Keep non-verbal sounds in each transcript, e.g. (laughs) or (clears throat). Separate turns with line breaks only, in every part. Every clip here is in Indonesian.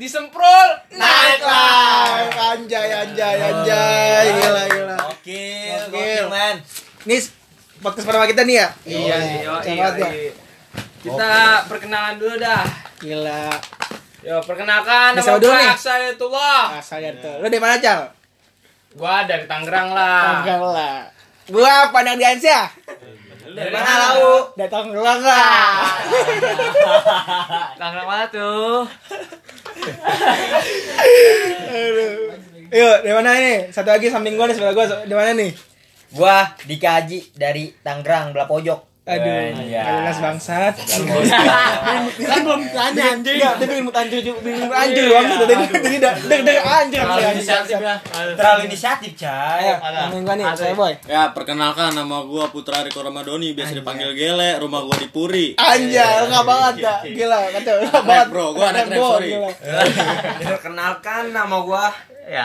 disemprol
Naik live. Anjay, anjay, anjay. Gila, gila.
Gokil,
Gokil.
gokil, man.
Nih podcast pertama kita nih ya.
iya
Gila,
iya
keren
iya
banget ya.
kita perkenalan dulu dah
Gila.
yo perkenalkan
Bisa
nama
dulu
gue
nih.
Aksanetullah
Asal dari tuh. Lu dari mana, Cal?
gue dari Tangerang lah
Enggak lah. Gua Pandang Diansyah.
dari
Mana lau?
Datang gelang lah.
Tangerang mana tuh
Aduh. Yuk, dari mana ini? Satu lagi samping gua nih sebelah gua. Dari mana nih?
Gua Dika Haji dari Tangerang, belah pojok.
Aduh,
Iya.
kalian bangsat.
Kan belum ditanya anjing.
Enggak, dia bikin mut anjir juga, bikin mut anjir bangsat. Dia dia dia- dia- dia anjir.
terlalu
anjir,
inisiatif
anjir.
ya
Terlalu inisiatif,
Ayo,
Cai.
samping gua ya. nih, saya boy.
Ya, perkenalkan nama gua Putra Riko Ramadoni, biasa dipanggil Gele, rumah gua di Puri.
Anjir, enggak banget dah. Gila, kata enggak banget.
bro, gua anak rap, sorry.
gila. Iya.
Perkenalkan nama gua
ya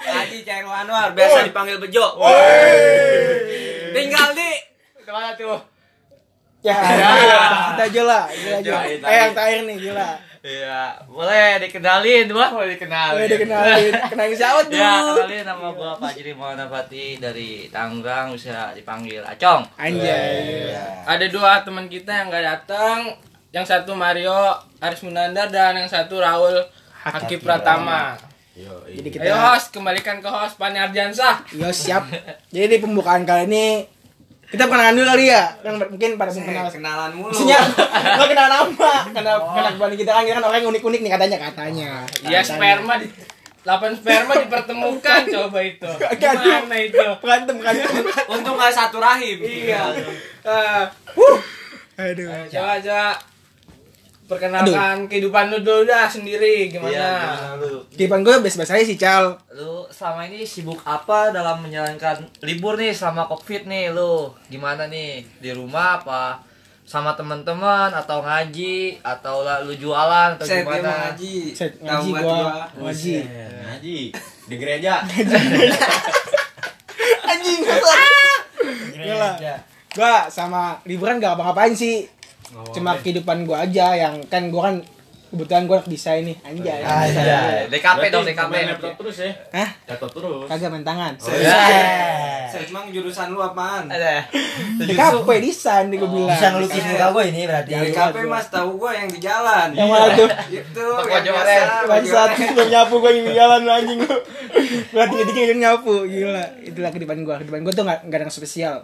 Haji Cairul Anwar, biasa dipanggil Bejo. Tinggal di
itu mana tuh
Ya, kita aja lah, gila aja.
Ayo,
Eh, yang terakhir nih, gila.
iya boleh dikenalin wah boleh dikenalin
Udah dikenalin, kenalin siapa tuh?
Ya, kenalin nama gua Fajri Maulana Fatih dari Tangerang bisa dipanggil Acong.
Anjay.
ada dua teman kita yang nggak datang yang satu Mario Aris Munandar dan yang satu Raul Hakim Pratama
Jadi kita
ayo host kembalikan ke host Pani Ardiansah
Yo siap. Jadi di pembukaan kali ini kita kenalan dulu kali ya, yang mungkin pada belum kenal.
kenalan mulu.
Maksudnya lo kenal nama, kenal kenal keluarga kita kan, kita kan orang yang unik-unik nih katanya katanya.
ya sperma di 8 sperma dipertemukan coba itu gimana itu
Berantem kan.
Untung gak satu rahim. Iya.
Eh,
(laughs) Aduh.
Iya. coba coba perkenalkan kehidupan lu dulu dah sendiri
Iya,
gimana
gimana lu?
Kehidupan gue biasa-biasa aja sih, Cal.
Lu selama ini sibuk apa dalam menjalankan libur nih selama Covid nih lu? Gimana nih? Di rumah apa? Sama teman-teman atau ngaji atau lah lu jualan atau
Set dia mau
gimana?
ngaji.
Set,
Tahu
ngaji
buat
gua, ngaji.
Eh, Ngaji di
(laughs)
gereja.
(laughs) Anjing. Gila. Gua sama liburan gak apa-apain sih. Cuma kehidupan gua aja yang kan gua kan kebetulan gua anak desain nih, anjay.
Anjay. DKP dong,
Berarti
DKP.
main laptop terus ya.
Hah?
Laptop terus.
Kagak main tangan.
iya.
Eh.
Set emang jurusan lu apaan?
Ada.
DKP desain gue bilang.
Bisa ngelukis muka
gue ini berarti.
Di kafe mas tahu gua yang di jalan.
Iya.
Iya.
Yang mana tuh?
Itu
Pakai
yang
baju
biasa,
oranye.
baju
Bangsat,
oranye.
belum nyapu gue di jalan lu anjing lu. Gua tiga tiga kan nyapu, gila. Itulah kehidupan gue. Kehidupan gue tuh gak, nggak ada yang spesial.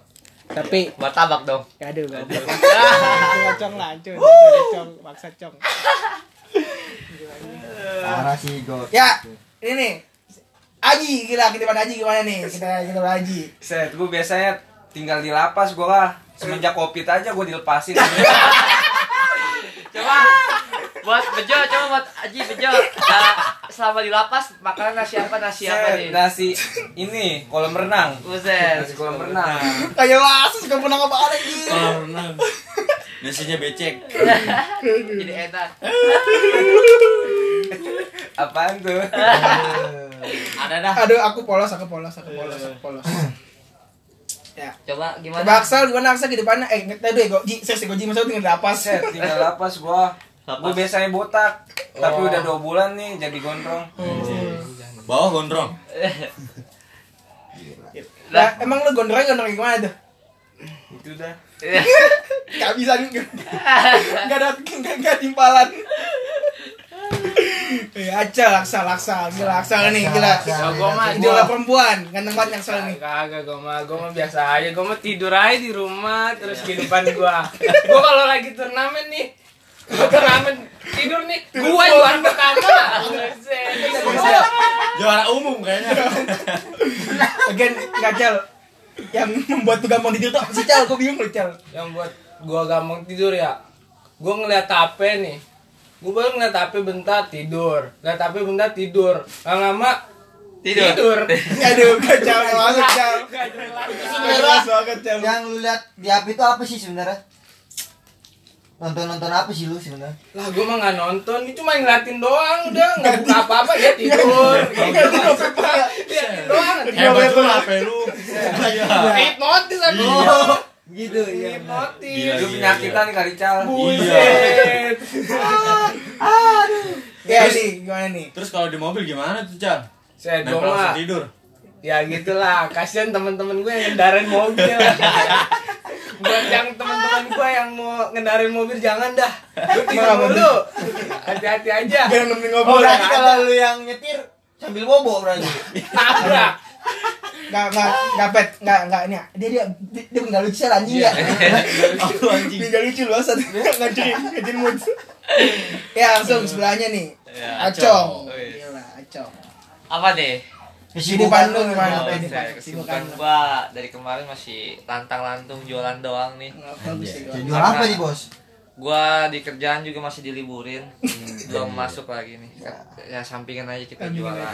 Tapi
Buat tabak dong.
ya aduh gak ada. Cuma cong lah, cong. Cuma cong, paksa cong.
Parah sih gua.
Ya, ini nih. Aji, gila kehidupan Aji gimana nih? Kita kita Aji.
Set gua biasanya tinggal di lapas gua lah. Semenjak covid aja gua dilepasin.
Coba buat bejo, coba buat Aji bejo. Nah, selama di lapas makanan nasi apa nasi apa
Set
nih?
nasi ini kolam renang. Nah,
Buset.
Nasi kolam renang.
Kayak lasis gak pernah ngapain lagi.
Karena nasinya becek.
Jadi eh, enak.
Apaan tuh?
Ada dah.
Aduh, aku polos, aku polos, aku polos, aku polos.
Coba gimana?
Coba Aksel, gimana Aksel kehidupannya? Eh, tadi gue, Ji, saya sih gue Ji, maksudnya tinggal di lapas.
Set tinggal lapas gua. Gua biasanya botak. Tapi udah dua bulan nih jadi gondrong.
Bawah gondrong.
Lah, emang lu gondrongnya gondrong gimana tuh?
Itu
(laughs)
dah.
Gak bisa nih Gak ada gak, gak timpalan Eh, aja laksa laksa gila laksa nih gila
Kalau gua mah
idola perempuan ganteng banget laksa nih
Kagak gue mah, gue mah biasa aja, gue mah tidur aja di rumah terus kehidupan gua. Gua kalau lagi turnamen nih, gua turnamen tidur nih, gua juara pertama. Buset.
Juara umum
(laughs)
kayaknya. Eh,
again gak Cel. yang membuat tuh gampang tidur tuh apa sih cal gue bingung lu cal
Yang buat gua gampang tidur ya, gua ngeliat HP nih, gua baru ngeliat HP bentar tidur, ngeliat HP bentar tidur, lama-lama tidur. tidur.
aduh gak cal masuk cal
Gak jelas.
Gak masuk banget cal
yang lu lihat di HP itu apa sih sebenarnya? Nonton-nonton apa sih lu sebenarnya?
Lah gua mah nggak nonton, dia cuma ngeliatin doang udah, nggak buka apa-apa dia tidur. Gitu, maksudnya. Liatin doang.
Hebat lu HP lu. Iya.
Iya. Hipnotis aku. Oh.
Gitu
Hipnotis.
Iya,
Lu
iya,
penyakitan kali cal.
Buset.
Iya nih, gimana nih?
Terus kalau di mobil gimana tuh, Cal?
Saya
Nempel
gua mah
langsung tidur.
ya gitulah kasihan teman-teman gue yang ngendarain mobil (laughs) buat yang teman-teman gue yang mau ngendarain mobil jangan dah lu tidur
Malah,
dulu hati-hati aja
Biar nemenin
Oh,
ngobrol.
berarti
iya.
kalau lu yang nyetir sambil bobo
(laughs)
berarti.
(laughs) tabrak
Enggak, enggak, enggak pet, enggak, enggak ini. Dia dia dia, dia enggak lucu lah anjing ya.
Iya.
Aku anjing.
Dia enggak lucu lu asal (laughs) ngajuin ngajuin mood. Ya, langsung sebelahnya nih.
Ya,
Acong.
Acong.
Gila, Acong.
(laughs) Apa deh?
Kesibukan lu gimana?
Oh,
Pet?
saya
Kesibukan
kesibukan
lu.
gua dari kemarin masih lantang lantung jualan doang nih.
Nggak bagus
Iya,
sih, gua.
Jual apa nih, Bos?
Gua di kerjaan juga masih diliburin, belum masuk lagi nih. Ya sampingan aja kita
Ini
jualan.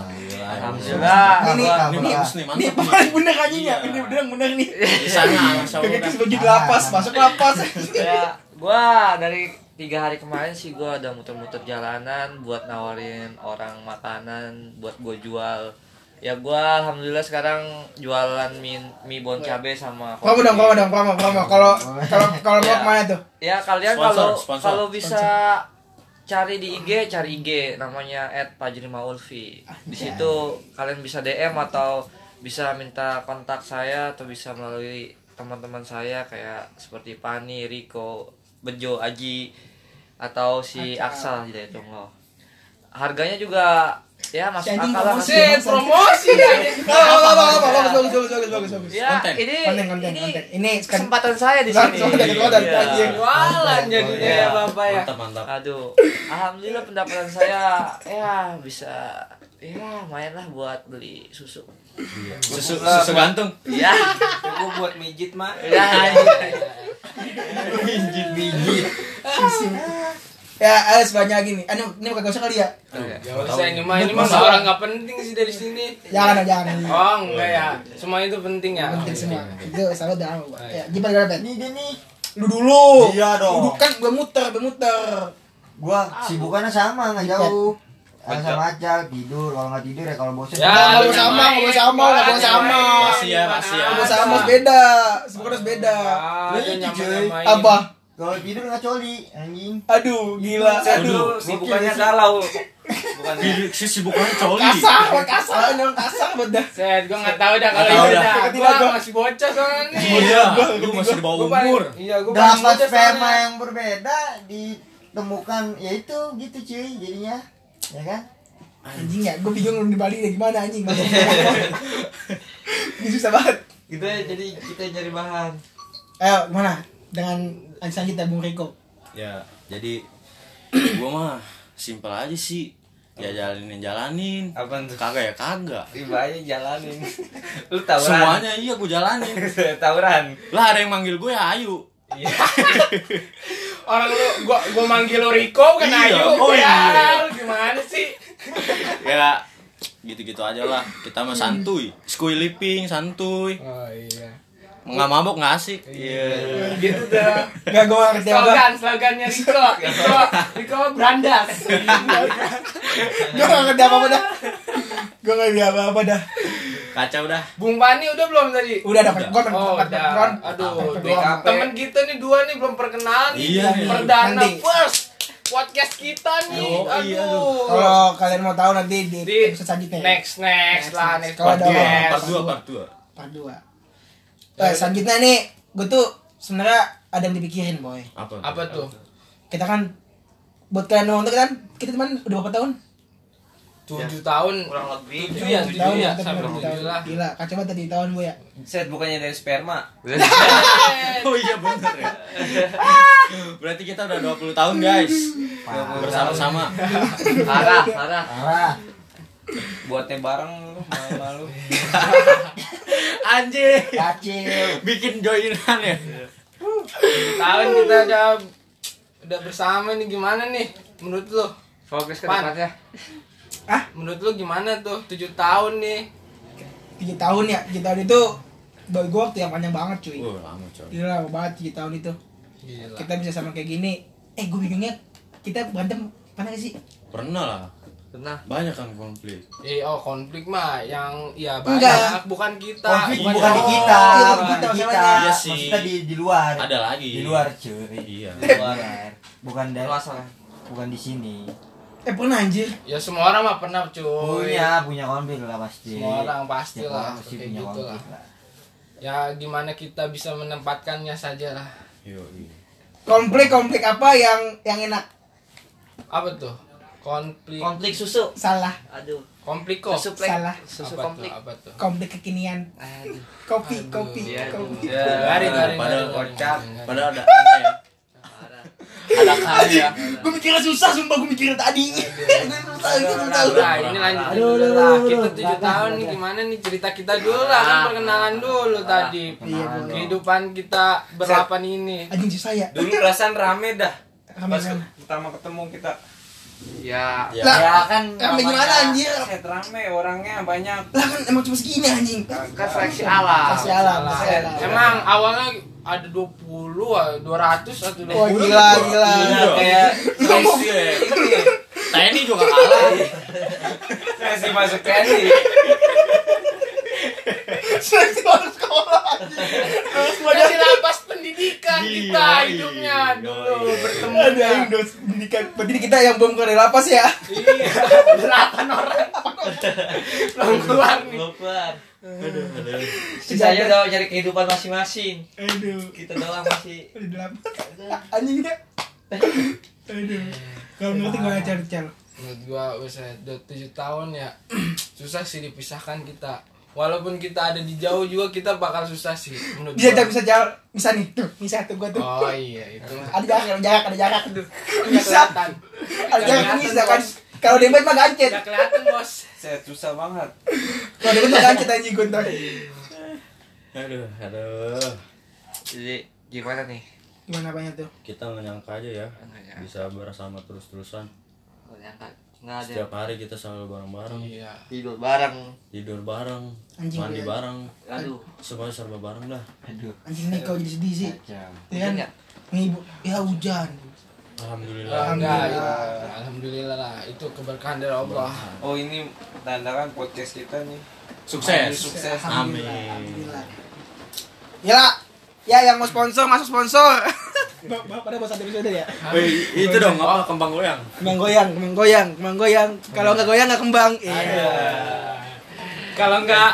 Alhamdulillah.
Alhamdulillah.
Ini- (laughs)
gua-
Ini
Alhamdulillah.
bagus nih,
Ini
mantap.
paling bener anjingnya,
Iya.
ini bener bener nih.
Di sana, Masya Allah.
Kagak baju di lapas, masuk lapas. (laughs)
ya gua dari tiga hari kemarin sih gua udah muter-muter jalanan buat nawarin orang makanan buat gua jual ya gua alhamdulillah sekarang jualan mie, mie bon cabe sama
Promo
kopi.
dong, promo dong, promo, promo. Kalau kalau kalau mau
Iya.
kemana tuh?
ya kalian
Sponsor,
kalau
sponsor.
kalau bisa cari di IG cari IG namanya @pajrimaulfi
Ah,
di
iya.
situ kalian bisa DM atau bisa minta kontak saya atau bisa melalui teman-teman saya kayak seperti Pani, Riko, Bejo, Aji atau si Aksal gitu
Iya.
itu Harganya juga ya masuk
Jadi
akal lah
promosi.
masih-
Buset, promosi (laughs) aja
Apa apa apa apa bagus bagus bagus bagus bagus bagus.
Ya,
Konten.
ini
Konten konten
ini
konten. Ini kan
kesempatan saya di sini.
Konten, konten,
Iya.
anjing.
jualan jadinya
Iya.
ya bapak ya
Mantap, mantap.
Aduh, alhamdulillah pendapatan saya ya bisa ya main lah buat beli susu.
Susu susu gantung.
Ya,
Gue buat mijit mah.
ya.
ya ada banyak lagi nih. Ah, Ini ini bukan gosok kali ya?
Gak usah ini mah ini mah nggak orang nggak penting sih dari sini
Jangan dong, jangan.
oh enggak ya semua itu penting ya
Penting semua. Itu sahabat dalam gua. Ya, gimana gimana Ben?
Ini dia nih.
Lu dulu.
Iya dong.
Lu kan gua muter, gua muter.
Gua sibukannya sama, nggak
Sipet.
jauh. Ah, sama aja tidur, kalau nggak tidur ya kalau bosan.
Ya,
Nggak
lu
boleh sama, nggak boleh sama, nggak boleh sama.
Masih ya, masih ya.
Gak boleh sama, harus beda. Semua harus beda.
Ada nyamain-nyamain.
Apa?
Kalau tidur nggak coli, anjing.
Aduh, gila. Aduh.
Aduh, sibukannya galau. Bukannya
Si sibukannya coli.
Kasar, gua kasar, orang kasar bener.
Set, gue gak tau dah kalau
Nggak
itu
tahu dah.
dah.
Ketiga
Gue
gua.
masih bocah soalnya nih.
Iya, lu masih di bawah
Gua paling-
umur.
Iya, gue paling
Dapat
bocah
sperma
soalnya.
yang berbeda ditemukan, ya itu gitu cuy jadinya, ya kan?
Anjing ya, gua bingung lu di Bali deh, gimana anjing. (laughs) Ini susah banget.
Gitu ya, jadi kita nyari bahan.
Ayo, gimana? Dengan Ansan kita Bung Riko.
Ya, jadi gua mah simpel aja sih. Ya jalanin yang jalanin.
Apaan tuh?
Kagak ya kagak.
tiba aja jalanin. Lu tawuran.
Semuanya iya gua jalanin.
(laughs) tawuran.
Lah ada yang manggil gue ya Ayu.
Orang lu, gue gua manggil lu Riko bukan
Iya,
Ayu.
oh iya.
Ya, lu gimana sih?
Ya gitu-gitu aja lah. Kita mah santuy. Skuy living santuy.
Oh iya.
Nggak mabok nggak asik. Iya.
Gitu dah.
Gak gue ngerti Iya, apa. Iya.
Slogan, slogannya
(laughs)
Riko. Riko, Riko berandas.
Gue gak ngerti apa-apa dah. Gue gak ngerti apa-apa dah.
Kacau dah.
Bung Pani udah belum tadi?
Udah dapat gue dapat
Oh,
dapat
udah.
background.
Aduh,
Dapat
dua-
background.
BKP.
temen kita nih dua nih belum perkenalan.
Iya, iya.
Perdana
Nanti.
first podcast kita nih.
Yo, iya,
Aduh.
Kalau kalian mau tahu nanti di
Di
episode selanjutnya. ya.
next next lah next
Kalau ada
podcast.
Iya, Part 2, part 2.
Part 2. Eh, selanjutnya nih, gue tuh sebenarnya ada yang dipikirin boy.
Apa?
Apa tuh?
Kita kan buat kalian yang nonton kan kita teman udah berapa tahun?
Tujuh tahun.
Kurang lebih.
Tujuh ya, tujuh
Tahun,
ya,
kita
sampai
teman tujuh
tujuh
tahun.
lah.
Gila, kacau banget tadi tahun boy ya.
Set bukannya dari sperma.
(laughs) Oh iya bener ya. Berarti kita udah 20 tahun guys. Bersama-sama.
Parah, parah.
Parah.
Buatnya bareng lu malu-malu.
Iya.
Anjing. (laughs)
Kacil.
Bikin joinan ya.
Tujuh tahun kita udah udah bersama nih gimana nih? Menurut lu?
Fokus ke
Pan.
depannya.
Menurut lu gimana tuh? Tujuh tahun nih.
3 tahun ya, 3 tahun itu bagi gue waktu yang panjang banget cuy.
Wah, lama coy.
Gila lama banget 3 tahun itu.
Gila.
Kita bisa sama kayak gini. Eh, gue bingungnya kita berantem pernah gak sih?
Pernah lah.
Pernah.
Banyak kan konflik.
Eh, oh konflik mah yang ya banyak
Enggak.
bukan kita.
Konflik bukan, di
Oh,
kita,
iya,
bukan
bukan
di
kita
kita.
masalahnya.
Iya sih.
Maksudnya di di luar.
Ada lagi.
Di luar cuy.
Iya.
Di luar. Bukan dari
Luasan.
bukan di sini.
Eh pernah anjir.
Ya semua orang mah pernah cuy.
Punya, punya konflik lah pasti.
Semua orang pasti
Setiap
lah
orang pasti
kayak
punya
gitu lah.
konflik lah.
Ya gimana kita bisa menempatkannya saja lah.
iya.
Konflik-konflik apa yang yang enak?
Apa tuh? Konflik.
Konflik susu.
Salah,
Aduh.
Konflik kok.
Susu plek.
Salah.
apa
Susu
tuh?
konflik.
Apa tuh?
konflik kekinian.
Aduh.
Kopi, kopi,
iya.
kopi.
Ya,
Garing, garing,
Padahal
garing,
kocak.
garing, garing.
Padahal ada ada ya.
Parah.
Ada karya.
Gue mikirnya susah, sumpah gue mikirnya tadi. (laughs) Gue susah, gue susah.
Nah, ini lanjutin dulu lah. Kita tujuh tahun nih gimana nih cerita kita dulu lah
Nah,
kan perkenalan dulu tadi. Nah,
Iya, boleh.
Kehidupan kita berlapan ini.
Anjing susah ya.
Dulu perasaan rame dah.
Rame,
Pas
rame.
pertama ketemu kita
Iya.
Ya.
Ya.
Lah,
Ya kan
Rame gimana
Iya.
anjir?
set rame orangnya banyak.
Lah kan emang cuma segini anjing. ya
Kan seleksi alam.
Kasih alam,
Salah.
kasih alam. (laughs)
Emang awalnya ada 20, ah, 200 atau
Wah
20.
gila,
Iya,
gila.
Gila,
Kayak
Crazy ya. TNI juga kalah.
Messi masuk Kenny.
Seleksi orang sekolah anjing. Terus gua
Masih lapas pendidikan kita
Iya,
hidupnya
iya,
dulu
iya.
bertemu
Ada yang dos pendidikan. Berarti kita yang belum keluar dari lapas ya.
delapan orang belum keluar nih.
Lupa.
Aduh, aduh.
Sisanya udah cari kehidupan masing-masing.
Aduh,
Kita doang masih.
di lapas. Anjingnya. Aduh. Kalau menurut gue ajar cel.
Menurut gua usah udah 7 tahun ya (clears throat) susah sih dipisahkan kita. Walaupun kita ada di jauh juga kita bakal susah sih menurut gua.
Dia Iya, tak bisa jalan. Bisa nih tuh, bisa tuh gua tuh.
Oh iya itu. mah.
Ada jarak, ada jarak, ada jarak tuh.
Nggak
Bisa.
kelihatan.
Ada jarak
Nggak
bisa kan.
kelihatan,
Kalau debat mah gancet.
Nggak kelihatan, Bos.
Set susah banget.
Kalau debat mah gancet anjing gontor.
Aduh, aduh.
Jadi gimana nih?
Gimana banyak tuh?
Kita nggak nyangka aja ya
Nggak
bisa bersama terus-terusan.
nyangka. Nggak ada
Setiap hari kita selalu bareng-bareng,
Iya.
tidur bareng.
tidur bareng,
Anjing,
mandi
iya.
bareng,
Aduh.
semuanya serba bareng dah.
Aduh,
Anjing nih kau jadi sedih sih.
kacau.
Ya
Hujan
kan?
nggak?
Ngibuk. Ya hujan.
Alhamdulillah.
Alhamdulillah.
Alhamdulillah.
Iya. Alhamdulillah lah itu keberkahan dari Allah.
Oh ini tandakan podcast kita nih. Maju
Sukses.
sukses.
Amin.
Alhamdulillah. Gila. Ya yang mau sponsor masuk
(laughs)
sponsor. Bapak pada bosan episode ya.
Wih, itu dong apa kembang goyang?
Kembang goyang, kembang goyang, kembang goyang. Kalau nggak goyang nggak kembang. Iya.
Kalau nggak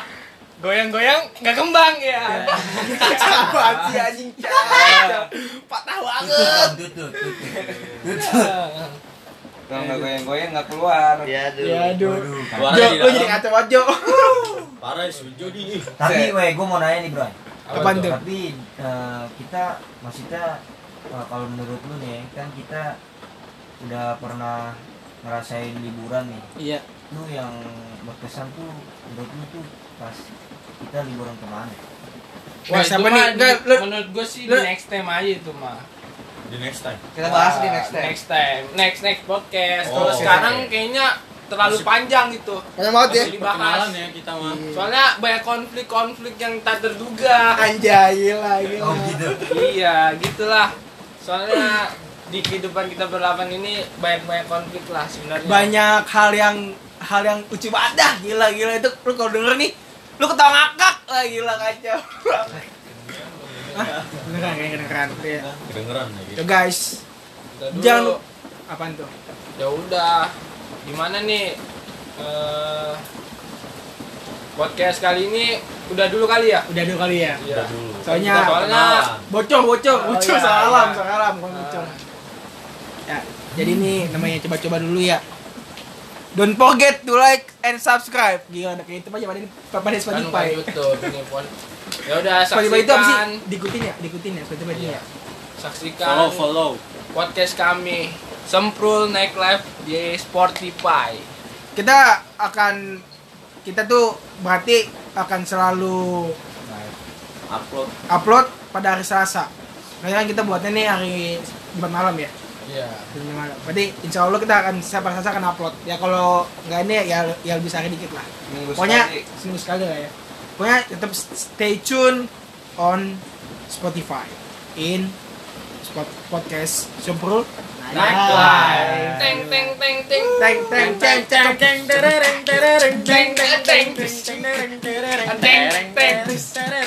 goyang-goyang nggak kembang ya.
Apa sih anjing? Pak tahu banget.
Tutut, tutut.
Kalau nggak goyang-goyang nggak keluar.
Ya aduh.
Ya aduh.
Aduh,
Suara
kacau.
Jo,
di
lu jadi
dalam.
kacau banget Jo.
Parah setuju nih.
Tapi weh, gue mau nanya nih bro.
Apaan tuh?
Tapi eh, kita maksudnya eh, kalau menurut lu nih kan kita udah pernah ngerasain liburan nih.
Iya.
Lu yang berkesan tuh menurut lu tuh pas kita liburan kemana?
Wah,
Next
itu
apa
mah
nih?
di-
Nggak, lu-
menurut gue sih
lu-
next time aja itu mah.
Di next time.
Kita bahas di
Wah,
next time.
Next time, next next podcast.
Oh,
Kalau
oke.
sekarang kayaknya terlalu
Masih-
panjang gitu.
Kacau banget ya.
Masih dibahas.
Perkenalan ya kita mah.
Iya.
Soalnya banyak konflik-konflik yang tak terduga.
Anjay, gila, gila.
Oh gitu.
iya, gitulah. Soalnya di kehidupan kita berlapan ini banyak-banyak konflik lah sebenarnya.
Banyak hal yang hal yang lucu banget dah. Gila, gila itu lu kalau denger nih, lu ketawa ngakak. Wah, gila kacau. Hah? Beneran, beneran. Iya.
Kedengeran ya gitu.
Yo guys,
Kita dulu.
jangan apaan tuh?
ya udah gimana nih eh podcast kali ini udah dulu kali ya
Udah dulu kali ya.
Udah dulu.
Soalnya-
Perkenalan.
Bocor, bocor,
Oh,
bocor.
iya,
salam,
iya.
salam, kalau bocor. Ya, jadi nih namanya coba-coba dulu ya. Don't forget to like and subscribe. Gila, ada kayak itu aja pada pada di
kan bukan
Spotify.
YouTube ini pon ya udah
Spotify itu apa sih?
saksikan
Diikutin ya, diikutin ya Spotify
Iya.
ya.
saksikan
Follow, follow.
podcast kami Semprul Naik Live di Spotify
Kita akan kita tuh berarti akan selalu
Upload.
upload pada hari Selasa. Karena kan kita buatnya nih hari Jumat malam ya.
Iya
Jumat malam. Berarti insya Allah kita akan setiap hari Selasa akan upload. Ya kalau nggak ini ya ya lebih sehari dikit lah.
Minggu
Pokoknya
sekali.
seminggu sekali lah ya. Pokoknya tetap stay tune on Spotify in spot podcast Semprul
Naik
Nah.
Live teng teng teng teng
Teng teng teng teng teng tereng tereng
teng teng teng teng teng